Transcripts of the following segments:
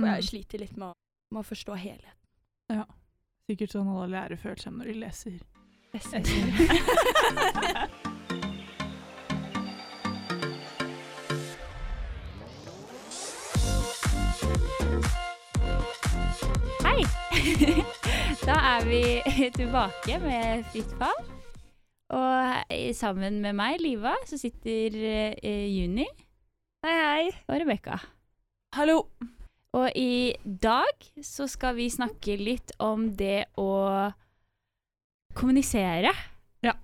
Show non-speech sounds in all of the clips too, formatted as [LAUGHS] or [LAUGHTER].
For Mm. jeg sliter litt med å, med å forstå helheten. Sikkert sånn alle lærere føler seg når de leser. [LAUGHS] Hei! [LAUGHS] Da er vi [LAUGHS] tilbake med Fritt fall. Og i- sammen med meg, Liva, så sitter eh, Juni Hei, hei. og Rebekka. Hallo! Og i dag så skal vi snakke litt om det å kommunisere. Ja.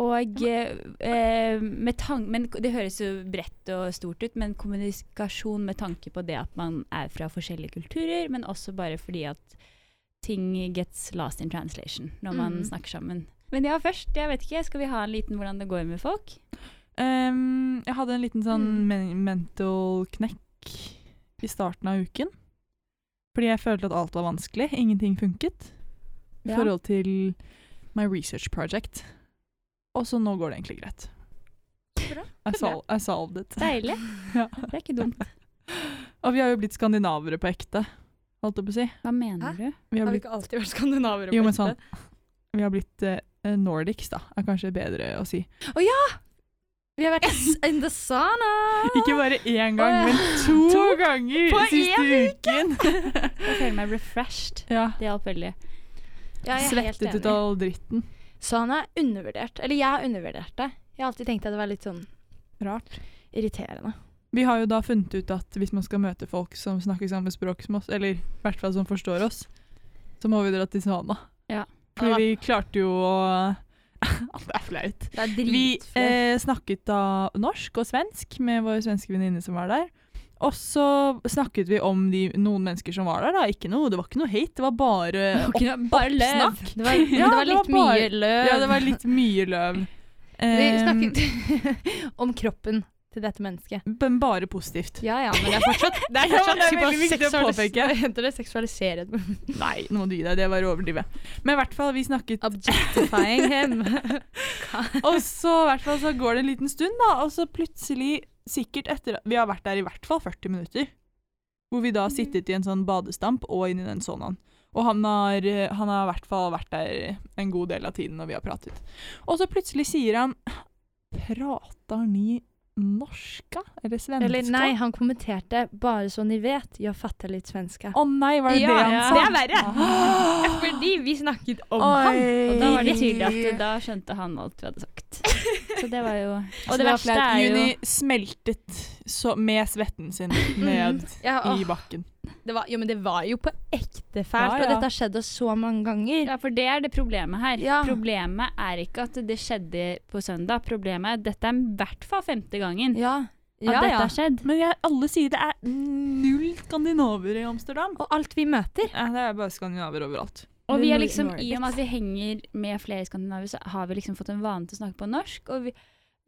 Og eh, eh, med tan men Det høres jo bredt og stort ut, men kommunikasjon med tanke på det at man er fra forskjellige kulturer, men også bare fordi at ting gets lost in translation når man Mm. Mhm. snakker sammen. Men ja, først, jeg vet ikke, skal vi ha en liten hvordan det går med folk? Ehm, jeg hadde en liten sånn Mm. men mental knekk i starten av uken. Fordi jeg følte at alt var vanskelig. Ingenting funket. I Ja. forhold til my research project. Og så nå går det egentlig greit. Bra. I, sol I solved it. Deilig. [LAUGHS] Ja. Det er ikke dumt. Og vi har jo blitt skandinavere på ekte, holdt jeg på å si. Hva mener Hæ? du? Vi har Har vi blitt, ikke alltid vært skandinaver? jo, men sånn, vi har blitt eh, nordics, da. Er kanskje bedre å si. Vi har vært s- in the sauna! [LAUGHS] Ikke bare én gang, Å, ja. men to, To ganger på siste én uken! [LAUGHS] Jeg føler meg refreshed. ja. Det hjalp veldig. Ja, jeg er helt Svettet ut enig. all dritten. Sauna er undervurdert. Eller jeg har undervurdert det. Jeg har alltid tenkt at det var litt sånn Rart. irriterende. Vi har jo da funnet ut at hvis man skal møte folk som snakker samme språk som oss, eller i hvert fall som forstår oss, så må vi dra til Svana. Ja. Fordi vi klarte jo å [LAUGHS] Det er flaut. Det er Vi eh, snakket da norsk og svensk med vår svenske venninne som var der. Og så snakket vi om de, noen mennesker som var der. Da. Ikke noe, det var ikke noe hate, det var bare [LAUGHS] Bare løv. løv. [LAUGHS] Det var, men det det var var litt bare- mye løv. Ja, det var litt mye løv. Eh, Vi Eh, mm. snakket [LAUGHS] om kroppen til dette mennesket. men bare positivt. Ja ja, [LAUGHS] men det er fortsatt Det er, fortsatt veldig viktig å [LAUGHS] påpeke. Hva heter det? Seksualiserende. Nei, nå må du gi deg, det var å overdrive. Men i hvert fall, vi snakket [LAUGHS] Objectifying him. [LAUGHS] Og så, i hvert fall, så går det en liten stund, da, og så plutselig, sikkert etter Vi har vært der i hvert fall 40 minutter. Hvor vi da Mhm. har sittet i en sånn badestamp og inni den sonaen. Og han har, eh, han har i hvert fall vært der en god del av tiden når vi har pratet. Og så plutselig sier han Prater ni norska? Eller svenska? [LAUGHS] Eller nei, han kommenterte 'bare så ni vet, jeg fatter litt svenska'. Å nei, var det det han sa? Det er verre. [LAUGHS] Ah. Fordi vi snakket om Og da var det tydelig at da skjønte han alt vi hadde sagt. Så det var [LAUGHS] jo Så Og det verste flaut. er jo Juni smeltet så, med svetten sin [LAUGHS] ned Mm. Ja, åh, i bakken. det var, jo, men det var jo på ekte Ja, fælt, og ja. dette har skjedd oss så mange ganger. Ja, for det er det problemet her. Ja. Problemet er ikke at det skjedde på søndag. Problemet er at dette er i hvert fall femte gangen Ja, at ja. dette ja. har skjedd. Men jeg, alle sier det er null skandinaver i Amsterdam. Og alt vi møter. Ja, det er bare skandinaver overalt. Og vi er Men Nor- liksom, i og med at Nordics. vi henger med flere skandinaver, så har vi liksom fått en vane til å snakke på norsk. Og vi,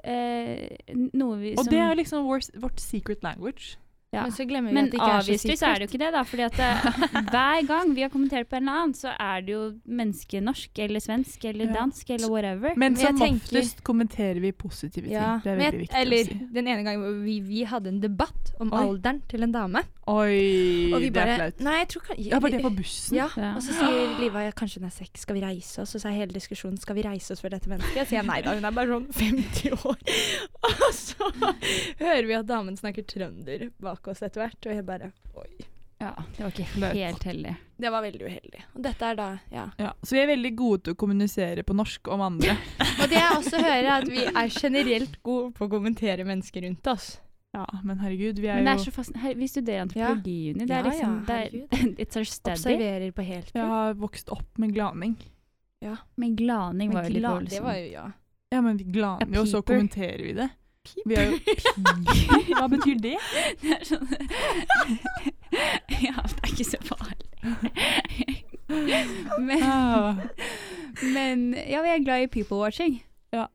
eh, noe vi Og som det er liksom vår, vårt secret language. Ja. Men så glemmer vi Men at det ikke er så avviselig så er det jo ikke det, da. Fordi at [LAUGHS] eh, hver gang vi har kommentert på en eller annen, så er det jo menneske norsk eller svensk eller Ja. dansk eller whatever. Men Men jeg som tenker- oftest kommenterer vi positive ting. Ja, Det er men veldig jeg- viktig eller, å si. Den ene gangen hvor vi, vi hadde en debatt om Oi. alderen til en dame. Oi, Og vi det bare er flaut. Nei, jeg tror kan, Ja, var det på bussen? Ja, Ja. Og så sier Liva ja, kanskje hun er seks, skal vi reise oss? Og så er hele diskusjonen skal vi reise oss for dette mennesket. Jeg sier nei da, hun er bare sånn 50 år. [LAUGHS] Og så hører vi at damen snakker trønder bak oss etter hvert, og jeg bare oi. Ja, det var ikke Flaut. helt heldig. Det var veldig uheldig. Og dette er da, ja. Ja, så vi er veldig gode til å kommunisere på norsk om andre. Og det jeg også hører, er at vi er generelt gode på å kommentere mennesker rundt oss. Ja, men herregud, vi er Men det er jo så fast, her, vi studerer antropologi, Juni. Det Ja, er ja, liksom det er, [LAUGHS] It's our study. Observerer på heltid. Jeg har vokst opp med glaning. Men glaning Men var jo litt glad- dårlig. liksom. Det var jo, ja. Ja, men vi glaner jo, og så Peeper. kommenterer vi det. Vi er jo Peeper? Hva betyr det? [LAUGHS] Det er sånn [LAUGHS] Ja, det er ikke så farlig. [LAUGHS] men, Ah. men ja, vi er glad i people watching.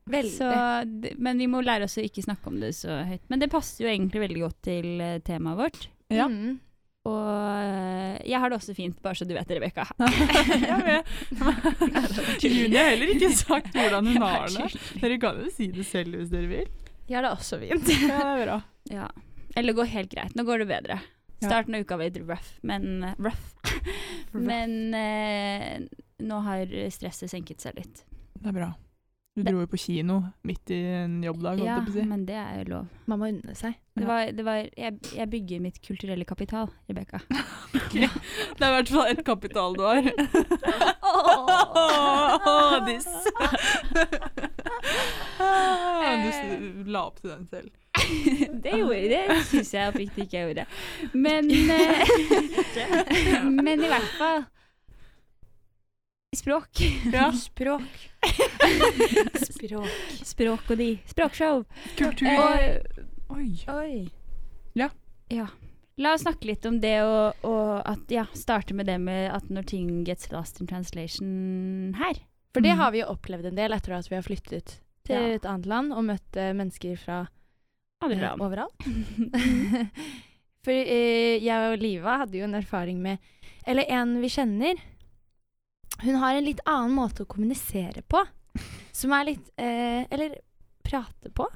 Veldig. Så, det- men vi må lære oss å ikke snakke om det så høyt. Men det passer jo egentlig veldig godt til eh, temaet vårt. Ja. Mm. Og eh, jeg har det også fint, bare så du vet det, [LAUGHS] Rebekka. [LAUGHS] Ja, men- Juni har heller [LAUGHS] ikke sagt hvordan hun har det. Dere kan jo si det selv hvis dere vil. Ja, det er også fint. Ja, det er bra. Ja. Eller det går helt greit. Nå går det bedre. Ja. Starten av uka var litt rough, men, eh, rough. men eh, nå har stresset senket seg litt. Det er bra. Du dro jo på kino midt i en jobbdag, holdt Ja, jeg på å si. men det er jo lov. [LAUGHS] Man må unne seg. Det Ja. var, det var, jeg, jeg bygger mitt kulturelle kapital, [LAUGHS] Rebekka. Det er i hvert fall et kapital du har. Åh, Diss. [LAUGHS] Ah, Du s- la opp til den selv. [LAUGHS] det gjorde Det syns jeg oppriktig ikke jeg gjorde. [LAUGHS] Men, [LAUGHS] eh, men i hvert fall Språk. Ja. [LAUGHS] Språk. Språk. Språk og de. Språkshow. Kultur Eh, Oi. Oi. ja. La oss snakke litt om det og, og at, ja, starte med det med at når ting gets lost in translation her. For det Mm. har vi jo opplevd en del etter at vi har flyttet til Ja. et annet land og møtt eh, mennesker fra Aldri eh, [LAUGHS] overalt. Mm-hmm. For eh, jeg og Liva hadde jo en erfaring med Eller en vi kjenner. Hun har en litt annen måte å kommunisere [LAUGHS] på. Som er litt eh, Eller prate på.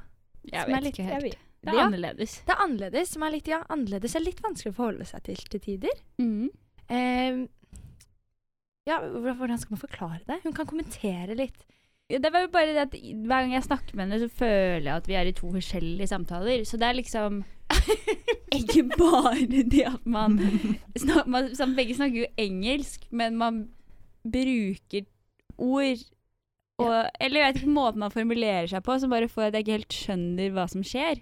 Jeg som er vet litt, ikke helt. jeg vet- Det er Ja. annerledes. Det er annerledes. Som er litt, ja, annerledes er litt vanskelig å forholde seg til til tider. Mm. Eh, ja, hvor- hvordan skal man forklare det? Hun kan kommentere litt. Ja, Det var jo bare det at i- hver gang jeg snakker med henne, så føler jeg at vi er i to forskjellige samtaler. Så det er liksom [LAUGHS] ikke bare det at man, snak, man sam- Begge snakker jo engelsk, men man bruker ord og Eller jeg vet ikke måten man formulerer seg på, som bare får at jeg ikke helt skjønner hva som skjer.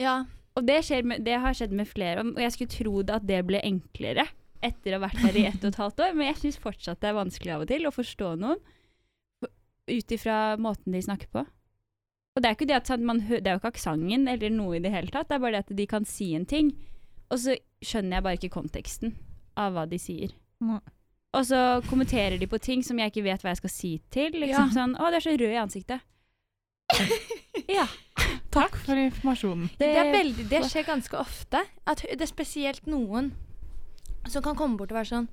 Ja. Og det, skjer med, det har skjedd med flere, og jeg skulle tro det at det ble enklere etter å ha vært her i ett og et halvt år, men jeg syns fortsatt det er vanskelig av og til å forstå noen ut ifra måten de snakker på. Og det er, ikke det, at sånn man, hø- det er jo ikke aksenten eller noe i det hele tatt, det er bare det at de kan si en ting, og så skjønner jeg bare ikke konteksten av hva de sier. Nei. Og så kommenterer de på ting som jeg ikke vet hva jeg skal si til. Liksom sånn 'Å, du er så rød i ansiktet'. ja. Takk for informasjonen. Det, er veldig, det skjer ganske ofte. At hu- det er spesielt noen som kan komme bort og være sånn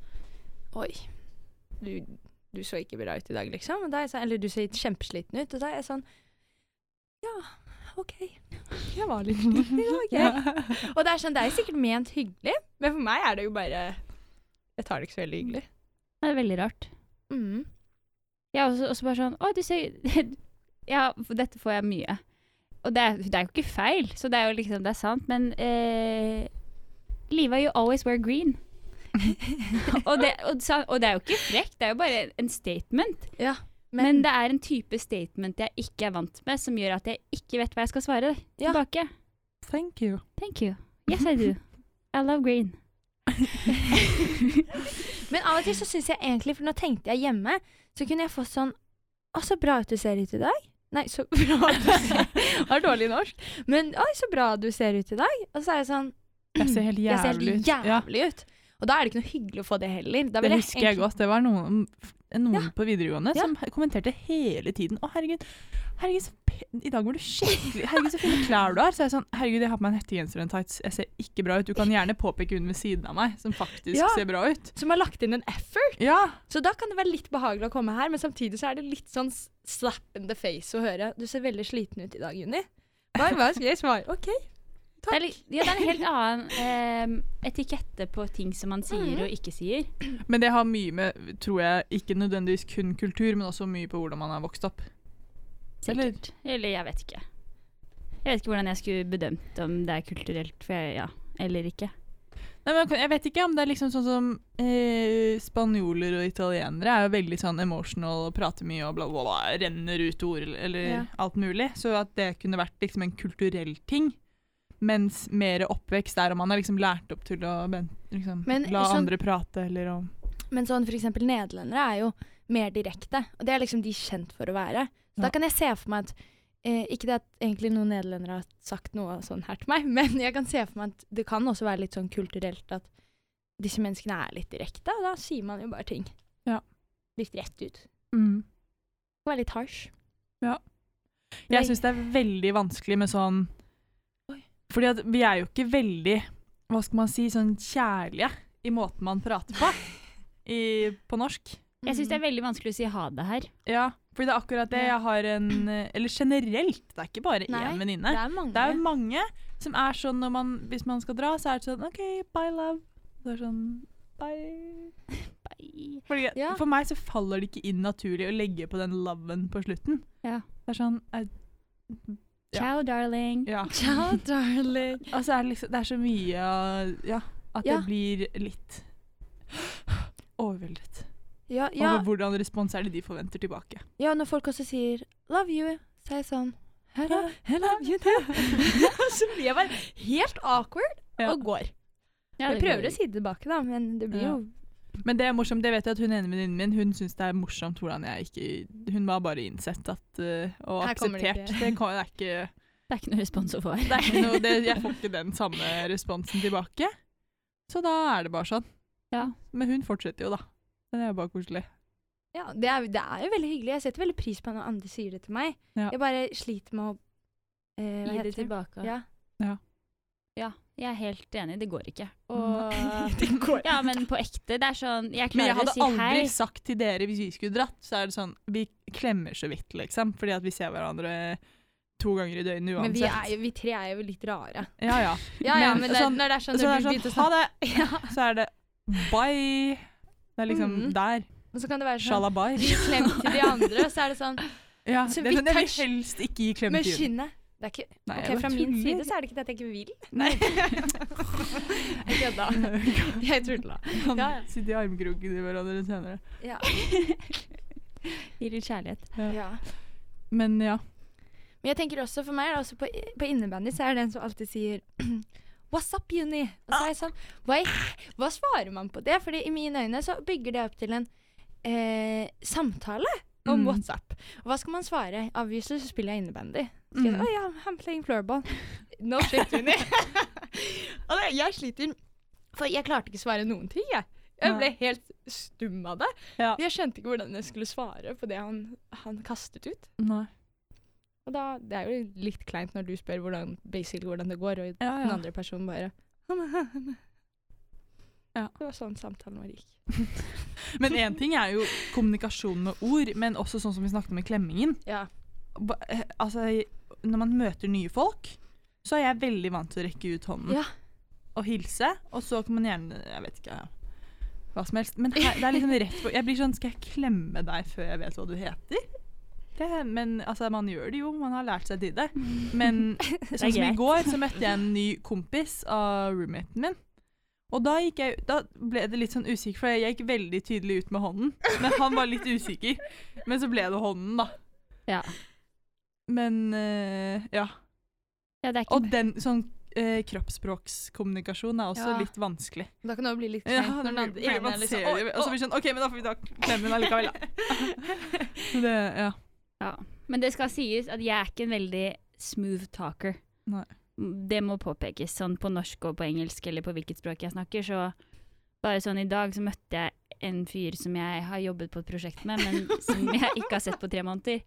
Oi, du, du så ikke bra ut i dag, liksom. Og da er jeg sånn, eller du ser kjempesliten ut. Og da er jeg sånn Ja, OK. Jeg var litt liten. [LAUGHS] Ja, ok. Og det er sånn, det er jo sikkert ment hyggelig, men for meg er det jo bare Jeg tar det ikke så veldig hyggelig. det er veldig rart. Mm. Jeg er også, også bare sånn Å, du ser [LAUGHS] Ja, for dette får jeg mye. Og det er, det er jo ikke feil, så det er jo liksom Det er sant, men eh, Liva, you always wear green. og, det, og, sa- og det er jo ikke frekt, det er jo bare en statement. Men, Men, det er en type statement jeg ikke er vant med, som gjør at jeg ikke vet hva jeg skal svare Ja. tilbake. [LAUGHS] Thank you. Thank you. Yes, I do. I love green. men av og til så syns jeg egentlig, for nå tenkte jeg hjemme, så kunne jeg fått sånn Å, så bra ut du ser ut i dag. Nei, så [LAUGHS] bra du ser Det var dårlig norsk. Men oi, så bra du ser ut i dag. Og så er jeg sånn Jeg ser helt Jeg ser jævlig helt ut. Ja, jævlig ut. Og da er det ikke noe hyggelig å få det heller. Da vil det husker jeg egentlig- godt. Det var noen, noen på videregående Ja. som kommenterte hele tiden. Å, herregud. Herregud, så pen I dag var du skikkelig Herregud, så fine klær du har. Så jeg er sånn Herregud, jeg har på meg en hettegenser og en tights. Jeg ser ikke bra ut. Du kan gjerne påpeke hun ved siden av meg som faktisk Ja. ser bra ut. Som har lagt inn en effort. Ja. Så da kan det være litt behagelig å komme her, men samtidig så er det litt sånn s- slap in the face å høre Du ser veldig sliten ut i dag, Juni. Hva, hva skal jeg svare? OK. Det er, li- ja, det er en helt annen eh, etikette på ting som man sier Mhm. og ikke sier. Men det har mye med, tror jeg, ikke nødvendigvis kun kultur, men også mye på hvordan man har vokst opp. Eller- Sikkert. Eller, jeg vet ikke. Jeg vet ikke hvordan jeg skulle bedømt om det er kulturelt for jeg, ja, eller ikke. Nei, men jeg vet ikke om det er liksom sånn som eh, spanjoler og italienere er jo veldig sånn emotional og prater mye og bla, bla, bla, renner ut ord eller Ja. alt mulig. Så at det kunne vært liksom en kulturell ting. Mens mer oppvekst er om man er liksom lært opp til å ben- liksom, Men la sånn- andre prate eller om Men sånn for eksempel nederlendere er jo mer direkte, og det er liksom de kjent for å være. Så Ja. da kan jeg se for meg at eh, Ikke det at egentlig noen nederlendere har sagt noe sånn her til meg, [LAUGHS] men jeg kan se for meg at det kan også være litt sånn kulturelt at disse menneskene er litt direkte, og da sier man jo bare ting. Ja. Litt rett ut. Mm. Og er litt harsh. Nei. Jeg syns det er veldig vanskelig med sånn Oi. Fordi at vi er jo ikke veldig, [LAUGHS] hva skal man si, sånn kjærlige i måten man prater på i, på norsk. Jeg syns Mm. det er veldig vanskelig å si ha det her. Ja, for det er akkurat det. Jeg har en eh, Eller generelt, det er ikke bare Nei, én venninne. Det er mange. Det er jo mange som er sånn når man, hvis man skal dra, så er det sånn OK, bye, love. Så er det sånn bye. Bye. Fordi, Ja. For meg så faller det ikke inn naturlig å legge på den loven på slutten. Ja. Det er sånn eh, Ja. Ciao, darling. Ja. [LAUGHS] Ciao, darling. [LAUGHS] Og så er det liksom Det er så mye eh, Ja. At Ja. det blir litt [GASPS] overveldet Ja, ja, over hvordan respons er det de forventer tilbake. ja, når folk også sier 'love you', så er jeg sånn Hello, Ja. I love you too. [LAUGHS] så blir jeg bare helt awkward Ja. og går. Ja, jeg det prøver går. å si det tilbake, da, men det blir Ja. jo Men det er morsomt, det vet jeg at hun ene venninnen min Hun syns det er morsomt hvordan jeg ikke Hun var bare innsett at, eh, og Her kommer det akseptert. ikke. Det, kan, det er ikke Det er ikke noe respons å få her. Det er ikke noe, det, jeg får ikke den samme responsen tilbake. Så da er det bare sånn. Ja. Men hun fortsetter jo, da. Det er jo bare koselig. Ja, det er, det er jo veldig hyggelig. Jeg setter veldig pris på når andre sier det til meg. Ja. Jeg bare sliter med å eh, Hva Gi heter det tilbake. Ja. Ja, jeg er helt enig. Det går [LAUGHS] ikke. Mm. Nei. Og Det går. Ja, men på ekte. Det er sånn Jeg Men jeg klarer å hadde si aldri hei. sagt til dere hvis vi skulle dratt, så er det sånn Vi klemmer så vidt, liksom. Fordi at vi ser hverandre to ganger i døgnet uansett. [LAUGHS] Men vi, er, jo- vi tre er jo litt rare. Ja, ja. Ja, ja, Men men, det, sånn- når det er sånn, Så det når er du begynte sånn Ha å snakke det! [LAUGHS] ja. Så er det bye. Det er liksom Mm. der. Og så kan det være sånn [LAUGHS] Shalabai. Vi klemmer til de andre, og så er det sånn Ja, Så det er vi sånn, jeg vil touch- helst ikke gi klem Med til Juni. skinnet. Det er ikke, Nei, ok, jeg Fra bare min tuller. side så er det ikke det at jeg ikke [LAUGHS] vil. Nei. Jeg [LAUGHS] kødda. Jeg tulla. Kan Ja, ja. sitte i armkroken til hverandre senere. Ja. Gi litt kjærlighet. ja. Men ja. Men jeg tenker også for meg, da, også på, på innebandy, så er det en som alltid sier [CLEARS THROAT] What's up, Juni? Og så er jeg sånn, hva, i- hva svarer man på det? Fordi i mine øyne så bygger det opp til en eh, samtale om Mm. WhatsApp. Og hva skal man svare? Avgjørelse så spiller jeg innebandy. Så sier jeg, Mm. Å ja, I'm playing floorball. No shit, [LAUGHS] Juni. og det, jeg sliter, for jeg klarte ikke å svare noen ting, jeg. Jeg ble helt stum av det. Ja. Jeg skjønte ikke hvordan jeg skulle svare på det han, han kastet ut. Nei. Og da, det er jo litt kleint når du spør hvordan, basically hvordan det går, og Ja, den andre personen bare [LAUGHS] Ja. Det var sånn samtalen vår gikk. Men én ting er jo kommunikasjon med ord, men også sånn som vi snakket om med klemmingen. Ja. Ba- eh, Altså, jeg- når man møter nye folk, så er jeg veldig vant til å rekke ut hånden Ja. og hilse, og så kan man gjerne Jeg vet ikke. ja, Hva som helst. Men her, det er liksom rett på Jeg blir sånn Skal jeg klemme deg før jeg vet hva du heter? Det, men altså, man gjør det jo. Man har lært seg til det. Men [LAUGHS] sånn som i greit. går, så møtte jeg en ny kompis av roommaten min. Og da, gikk jeg, da ble det litt sånn usikker, for jeg gikk veldig tydelig ut med hånden. Men han var litt usikker. Men så ble det hånden, da. Ja. Men eh, ja. Ja, det er ikke Og den sånn eh, kroppsspråkskommunikasjon er også Ja. litt vanskelig. Da kan det jo bli litt Ja, kleint når den andre fordi ene man er ser liksom det, Altså, og så blir det sånn OK, men da får vi ta klemmen allikevel, [LAUGHS] da. Så det, ja. ja. Men det skal sies at jeg er ikke en veldig smooth talker. Nei. Det må påpekes. Sånn på norsk og på engelsk, eller på hvilket språk jeg snakker, så Bare sånn i dag så møtte jeg en fyr som jeg har jobbet på et prosjekt med, men som jeg ikke har sett på tre måneder.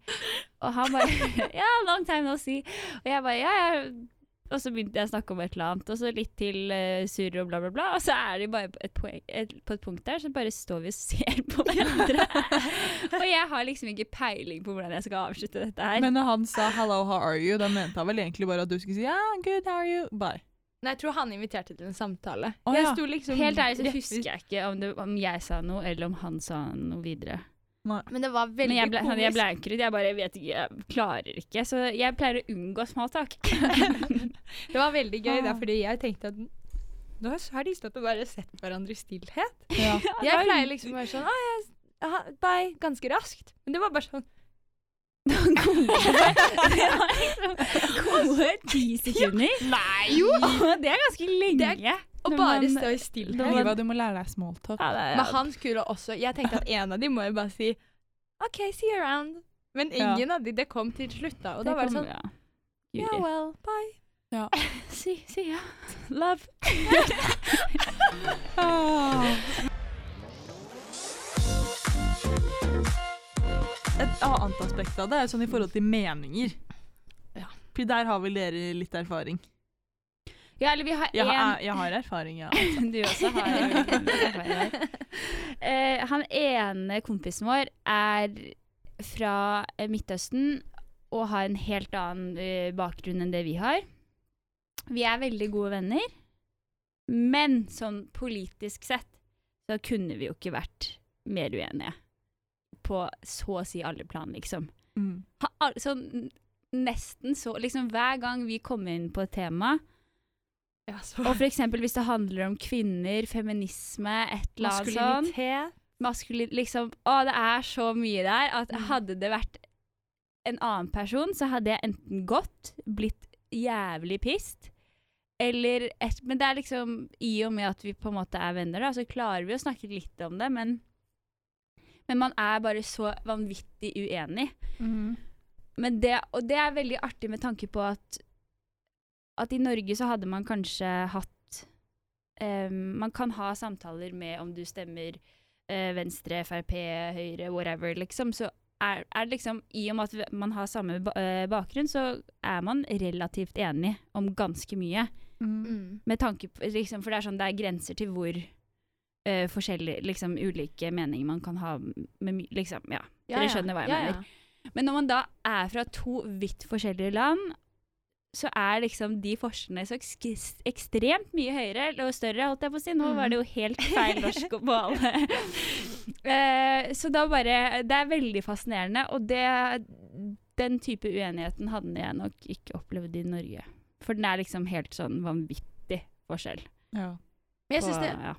Og han bare [LAUGHS] Ja, long time no see. Og jeg bare Ja, ja. Og så begynte jeg å snakke om et eller annet, og så litt til eh, surr og bla, bla, bla. Og så er de bare på et, poeng, et, på et punkt der, så bare står vi og ser på hverandre. og jeg har liksom ikke peiling på hvordan jeg skal avslutte dette her. Men når han sa 'hello, how are you', da mente han vel egentlig bare at du skulle si 'yeah, good, how are you'? Bye. Nei, jeg tror han inviterte til en samtale. Å, jeg ja. sto liksom Helt ærlig så rett ved- husker jeg ikke om, det, om jeg sa noe, eller om han sa noe videre. Men det var veldig Men jeg ble, sånn, jeg komisk. blanker ut. Jeg bare vet ikke, jeg klarer ikke. Så jeg pleier å unngå småtak. Det var veldig gøy, da, Ah. fordi jeg tenkte at nå har de stått og bare sett hverandre i stillhet. Ja. Jeg pleier liksom å være sånn Å, jeg, aha, bye, ganske raskt. Men det var bare sånn det var liksom gode ti sekunder. Nei, jo! Og det er ganske lenge. Det Og bare stå i stillhet. Liva, du må lære deg smalltalk. Ja, det er, Men han skulle også Jeg tenkte at en av de må jo bare si OK, see you around. Men Ja. ingen av de Det kom til slutt, da. Og da var det sånn kommer, ja. Yeah, Guri. well, bye. Si, si ja. Love. Ah. Et annet aspekt av det er sånn i forhold til meninger. Ja. For der har vel dere litt erfaring. Ja, eller vi har Jeg, en [LAUGHS] [LAUGHS] har- jeg har erfaring, ja. Du også har Eh, Han ene kompisen vår er fra eh, Midtøsten og har en helt annen eh, bakgrunn enn det vi har. Vi er veldig gode venner, men sånn politisk sett så kunne vi jo ikke vært mer uenige på så å si alle plan, liksom. Mm. Ha- al- Sånn nesten så Liksom hver gang vi kommer inn på et tema, Ja, så. og f.eks. hvis det handler om kvinner, feminisme, et eller annet sånn Maskulinitet. maskulin liksom, Å, det er så mye der at hadde det vært en annen person, så hadde jeg enten gått, blitt jævlig pissed, eller et, Men det er liksom I og med at vi på en måte er venner, da, så klarer vi å snakke litt om det, men Men man er bare så vanvittig uenig. Mm. Mm. Men det, og det er veldig artig med tanke på at, at i Norge så hadde man kanskje hatt eh, Man kan ha samtaler med om du stemmer eh, Venstre, Frp, Høyre, whatever, liksom. Så er, er det liksom I og med at man har samme ba eh, bakgrunn, så er man relativt enig om ganske mye. Mm. Mm. Med tanke på liksom, For det er sånn det er grenser til hvor eh, forskjellige Liksom ulike meninger man kan ha med my- Liksom, ja. Dere skjønner hva jeg mener. Men når man da er fra to vidt forskjellige land, så er liksom de forskjellene så eksk- ekstremt mye høyere og større, holdt jeg på å si. Nå Mm. var det jo helt feil norsk på alle. Eh, så da bare Det er veldig fascinerende, og det Den type uenigheten hadde jeg nok ikke opplevd i Norge. For den er liksom helt sånn vanvittig forskjell. Ja. Men jeg på- synes det, ja.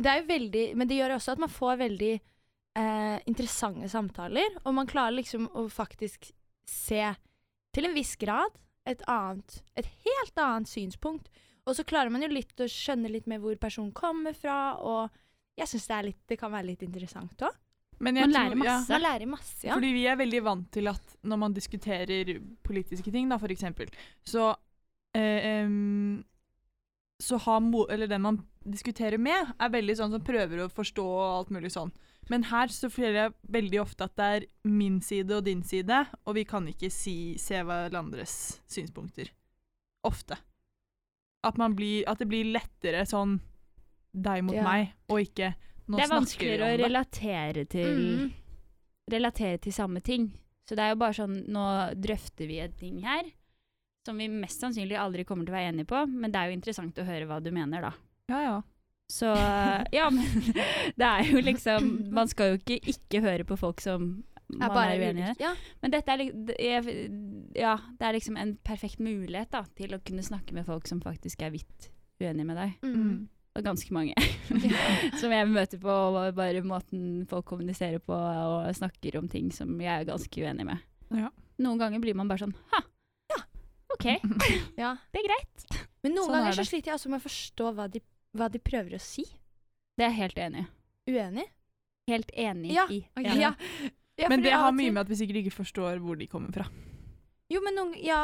det er jo veldig Men det gjør også at man får veldig eh, interessante samtaler, og man klarer liksom å faktisk se til en viss grad et annet Et helt annet synspunkt. Og så klarer man jo litt å skjønne litt mer hvor personen kommer fra, og jeg syns det, er litt- det kan være litt interessant òg. Men Man lærer ja. masse. Man lærer masse, ja. Fordi vi er veldig vant til at når man diskuterer politiske ting, da, for eksempel, så eh, em, så har mo eller den man diskuterer med, er veldig sånn som prøver å forstå og alt mulig sånn. Men her så føler jeg veldig ofte at det er min side og din side, og vi kan ikke si, se hverandres synspunkter. Ofte. At, man blir, at det blir lettere sånn deg mot Ja. meg, og ikke nå Det er snakker vi vanskeligere å om det. relatere til Mm. relatere til samme ting. Så det er jo bare sånn, nå drøfter vi en ting her, som vi mest sannsynlig aldri kommer til å være enige på, men det er jo interessant å høre hva du mener, da. Ja, ja. Så ja, men [LAUGHS] det er jo liksom Man skal jo ikke ikke høre på folk som man er, uenig i. ulikt. Ja. Men dette er, li- det er, ja, det er liksom en perfekt mulighet da, til å kunne snakke med folk som faktisk er vidt uenige med deg. Mm. Og ganske mange. som jeg møter på, og bare måten folk kommuniserer på og snakker om ting som jeg er ganske uenig med. Ja. Noen ganger blir man bare sånn ha, ok, Mm. [LAUGHS] ja. det er greit. [LAUGHS] Men noen Sånn er ganger så det. sliter jeg også med å forstå hva de, hva de prøver å si. Det er jeg helt enig i. Uenig? Helt enig Ja. i. Ja. ja. Men fordi det av har og mye til- med at vi sikkert ikke forstår hvor de kommer fra. Jo, men noen Ja.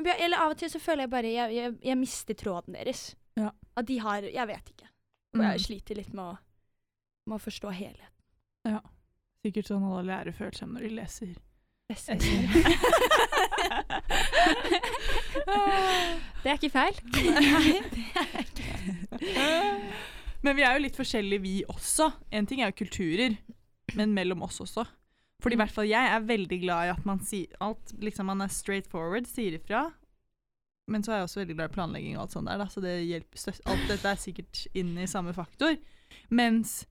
Ja, Eller av og til så føler jeg bare Jeg, jeg, jeg mister tråden deres. Ja. At de har Jeg vet ikke. Og Mm. jeg sliter litt med å, med å forstå helheten. Sikkert sånn alle lærere føler seg når de leser. [LAUGHS] [LAUGHS] Ah. Det er ikke [LAUGHS] feil. Men vi er jo litt forskjellige vi også. En ting er jo kulturer, men mellom oss også. Fordi i hvert fall jeg er veldig glad i at man sier alt. Liksom man er straight forward, sier ifra. Men så er jeg også veldig glad i planlegging og alt sånt der, da, så det hjelper støtt. Alt dette er sikkert inn i samme faktor. Mens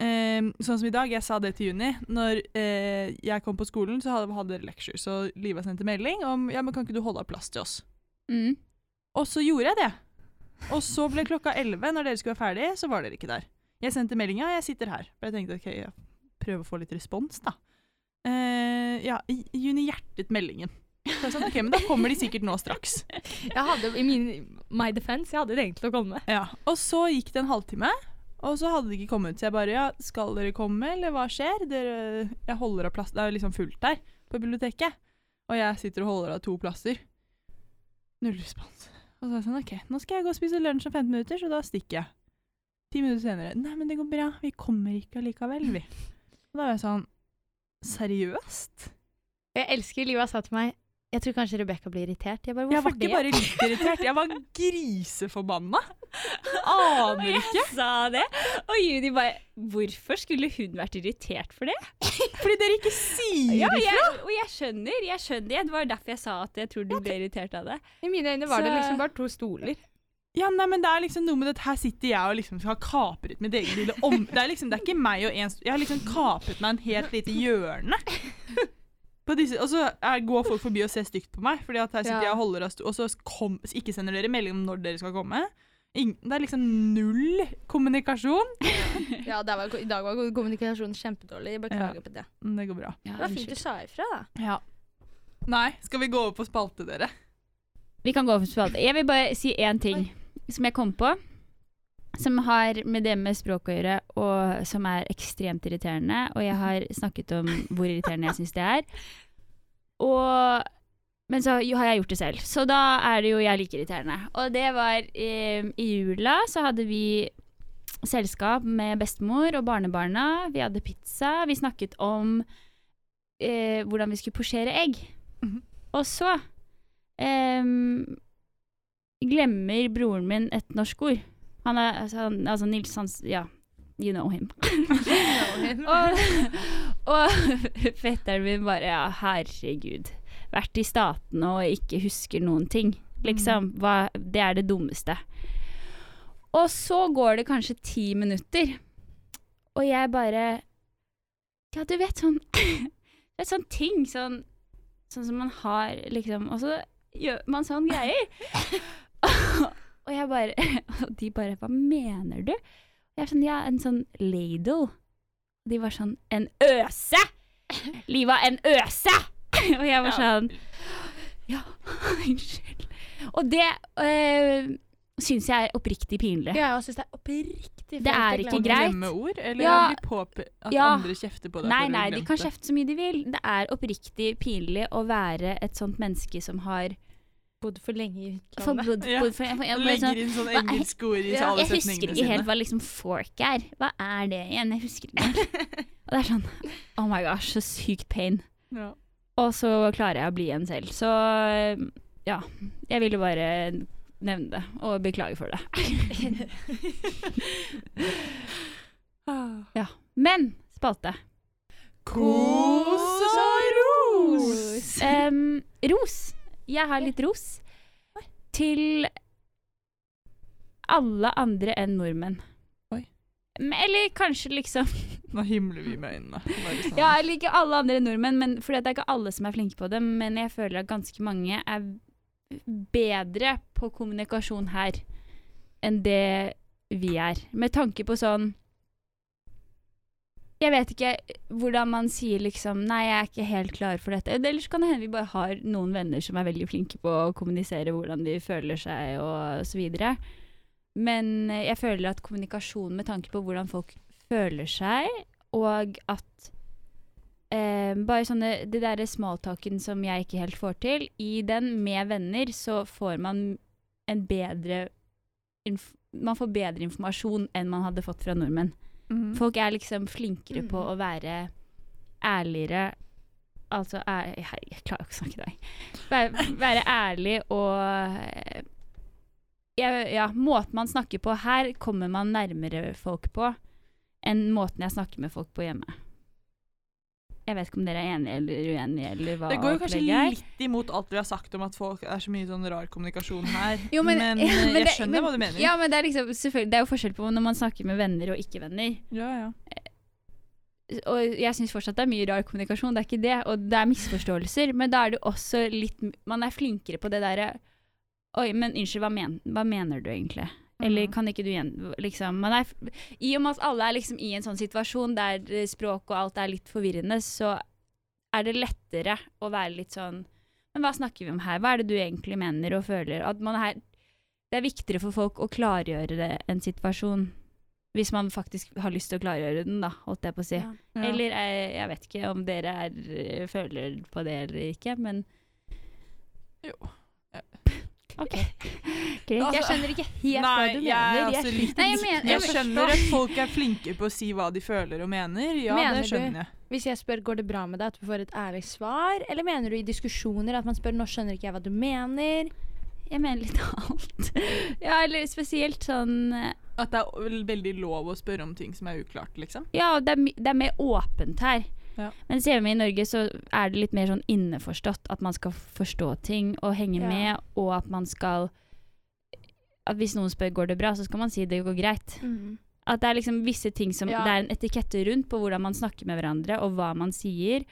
eh, sånn som i dag, jeg sa det til Juni. Når eh, jeg kom på skolen, så hadde, hadde dere lecture, så Liva sendte melding om ja, men kan ikke du holde av plass til oss? Mm. Og så gjorde jeg det. Og så ble klokka 11, når dere skulle være ferdig, så var dere ikke der. Jeg sendte meldinga, jeg sitter her. For jeg tenkte ok, jeg prøver å få litt respons, da. Eh, ja, i- Juni hjertet meldingen. Så jeg sa ok, men da kommer de sikkert nå straks. Jeg hadde i min My defense, jeg hadde det egentlig å komme med. Ja, Og så gikk det en halvtime, og så hadde de ikke kommet. Så jeg bare ja, skal dere komme, eller hva skjer? Dere, jeg holder av plass, det er liksom fullt der på biblioteket. Og jeg sitter og holder av to plasser. Null respons. Og så er jeg sånn, ok, nå skal jeg gå og spise lunsj om 15 minutter, så da stikker jeg. Ti minutter senere, nei, men det går bra, vi kommer ikke allikevel, vi. Og da var jeg sånn, seriøst? Jeg elsker Liva sa til meg Jeg tror kanskje Rebekka blir irritert. Jeg bare, Jeg hvorfor var ikke det? bare litt irritert, jeg var griseforbanna. Aner ikke. Jeg sa det. Og Judy bare Hvorfor skulle hun vært irritert for det? Fordi dere ikke sier Ja, jeg, og jeg skjønner, jeg skjønner det. Det var derfor jeg sa at jeg tror du ble irritert av det. I mine øyne var det Så- liksom bare to [LAUGHS] stoler. Ja, nei, men det er liksom noe med det at her sitter jeg og liksom har kapret mitt eget lille om... Det er liksom, det er ikke meg og en... st- Jeg har liksom kapret meg en helt lite hjørne. På disse, og så er, går folk forbi og ser stygt på meg, fordi at her sitter Ja. jeg og holder av sto... Og så kom, ikke sender dere melding om når dere skal komme. Ingen, det er liksom null kommunikasjon. Ja, der var, I dag var kommunikasjonen kjempedårlig. Jeg beklager på det. Men Det går bra. Det var fint du sa ifra, [LAUGHS] da. Ja. Nei, skal vi gå over på spalte, dere? Vi kan gå over til spalte. Jeg vil bare si én ting som jeg kom på. Som har med det med språk å gjøre, og som er ekstremt irriterende. Og jeg har snakket om hvor irriterende jeg syns det er. Og Men så jo, har jeg gjort det selv, så da er det jo jeg like irriterende. Og det var eh, I jula så hadde vi selskap med bestemor og barnebarna. Vi hadde pizza. Vi snakket om eh, hvordan vi skulle posjere egg. Mhm. Og så Ehm, glemmer broren min et norsk ord. Han er altså, han, altså Nils Hans Ja, you know him. og [LAUGHS] og fetteren min bare Ja, herregud. Vært i statene og ikke husker noen ting. Liksom. Hva, det er det dummeste. Og så går det kanskje ti minutter, og jeg bare Ja, du vet sånn [CLEARS THROAT] Det er sånn ting, sånn, sånn som man har liksom Og så gjør man sånn greier. [LAUGHS] og jeg bare Og de bare Hva mener du? Og jeg er sånn Ja, en sånn ladle. Og de var sånn En øse! Liva, en øse! [LAUGHS] og jeg var sånn [LAUGHS] Ja, unnskyld. Og det øh, syns jeg er oppriktig pinlig. Ja, jeg syns det er oppriktig Det er ikke Å greit. greit. glemme ord? Eller Ja. bli påpe at Ja. andre kjefter på deg? Nei, for å nei, de glemte? kan kjefte så mye de vil. Det er oppriktig pinlig å være et sånt menneske som har Bodd for lenge i [LAUGHS] utlandet. forbudt Ja. for- for- for- jeg bare sånn- Legger inn sånn Hva er- engelske ord i Ja. alle Jeg husker setningene ikke helt sine. hva liksom fork er. Hva er det igjen? Jeg husker ikke. [LAUGHS] Og det er sånn Oh my gosh, så sykt pain. Ja. Og så klarer jeg å bli en selv. Så eh, ja. Jeg ville bare nevne det, og beklage for det. Ja. Men spalte. Kos og ros! Eh. Em, ros. Jeg har litt ros til alle andre enn nordmenn. Oi. Men- Eller kanskje liksom Nå himler vi med øynene. Bare sånn. [LAUGHS] Ja, eller ikke alle andre enn nordmenn, men, fordi at det er ikke alle som er flinke på det. Men jeg føler at ganske mange er bedre på kommunikasjon her enn det vi er. Med tanke på sånn Jeg vet ikke hvordan man sier liksom Nei, jeg er ikke helt klar for dette. Eller så kan det hende vi bare har noen venner som er veldig flinke på å kommunisere hvordan de føler seg og så videre. Men eh, jeg føler at kommunikasjon med tanke på hvordan folk føler seg, og at eh, bare sånne Det derre smalltalken som jeg ikke helt får til, i den med venner så får man en bedre inf Man får bedre informasjon enn man hadde fått fra nordmenn. Mhm. Folk er liksom flinkere på Mm. Mhm. å være ærligere Altså æ- Herregud, jeg klarer ikke å snakke i dag. Være, være ærlig og eh, ja, ja, måten man snakker på her, kommer man nærmere folk på enn måten jeg snakker med folk på hjemme. Jeg vet ikke om dere er enige eller uenige, eller hva Det går jo kanskje opplegget er. litt imot alt vi har sagt om at folk er så mye sånn rar kommunikasjon her, Jo, men- men, [LAUGHS] eh, ja, men jeg det- skjønner men- hva du mener. Ja, men det er, liksom, selvfølgelig- det er jo forskjell på når man snakker med venner og ikke-venner. ja, ja. og jeg syns fortsatt det er mye rar kommunikasjon, det er ikke det, og det er misforståelser, men da er det også litt Man er flinkere på det derre Oi, men unnskyld, hva, men, hva mener du egentlig? Eller Mhm. kan ikke du igjen liksom, man er, f- I og med at alle er liksom i en sånn situasjon der eh, språk og alt er litt forvirrende, så er det lettere å være litt sånn Men hva snakker vi om her? Hva er det du egentlig mener og føler? At man er, det er viktigere for folk å klargjøre det, en situasjon, hvis man faktisk har lyst til å klargjøre den, da, holdt jeg på å si. Ja. Ja. Eller jeg, jeg vet ikke om dere er, eh, føler på det eller ikke, men Jo. [LAUGHS] OK. Greit. Jeg Altså- skjønner ikke helt hva Nei, du jeg er mener. altså litt Nei, jeg mener- Jeg jeg skjønner [LAUGHS] at folk er flinke på å si hva de føler og mener. Ja, Mener det du? skjønner jeg. Hvis jeg spør går det bra med deg, at du får et ærlig svar? Eller mener du i diskusjoner at man spør nå skjønner ikke jeg hva du mener? Jeg mener litt alt. [LAUGHS] Ja, eller spesielt sånn eh, At det er vel veldig lov å spørre om ting som er uklart, liksom? Ja, det er, my- det er mer åpent her. Ja. Mens hjemme i Norge så er det litt mer sånn innforstått at man skal forstå ting og henge Ja. med, og at man skal at Hvis noen spør går det bra, så skal man si det går greit. Mm. At det er liksom visse ting som Ja. Det er en etikette rundt på hvordan man snakker med hverandre, og hva man sier.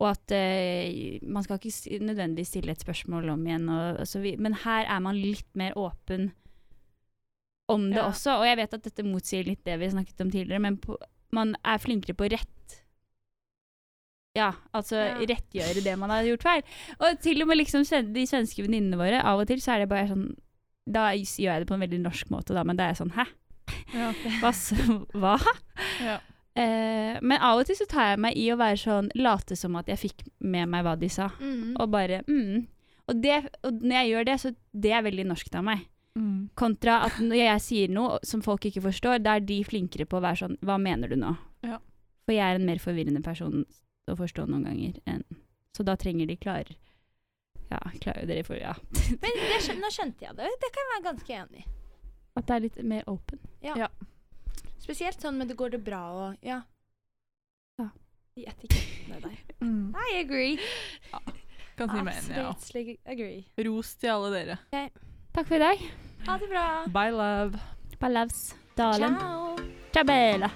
Og at eh, man skal ikke si- nødvendigvis stille et spørsmål om igjen. Og, og så vi, men her er man litt mer åpen om det Ja. også. Og jeg vet at dette motsier litt det vi snakket om tidligere, men på, man er flinkere på rett. Ja, altså Ja. rettgjøre det man har gjort feil. Og til og med liksom sven- de svenske venninnene våre, av og til så er det bare sånn Da gjør jeg det på en veldig norsk måte, da, men da er jeg sånn hæ? Ja. Hva? s- [LAUGHS] hva? Ja. Eh, men av og til så tar jeg meg i å være sånn late som at jeg fikk med meg hva de sa, Mm. og bare mm. Og, det, og når jeg gjør det, så det er veldig norskt av meg. Mm. Kontra at når jeg sier noe som folk ikke forstår, da er de flinkere på å være sånn Hva mener du nå? Ja. For jeg er en mer forvirrende person å forstå noen ganger enn Så da trenger de klar Ja, klarer dere for Ja. Men det, skjøn- nå skjønte jeg det. Det kan jeg være ganske enig i. At det er litt mer open. Spesielt sånn med det går det bra og ja. Ja. De etikettene der. Mm. I agree. Kan si meg enig, ja. Absolutely agree. Ros til alle dere. Takk for i dag. Ha det bra. Bye, love. Balavs. Dalen. Ciao. Tjabela.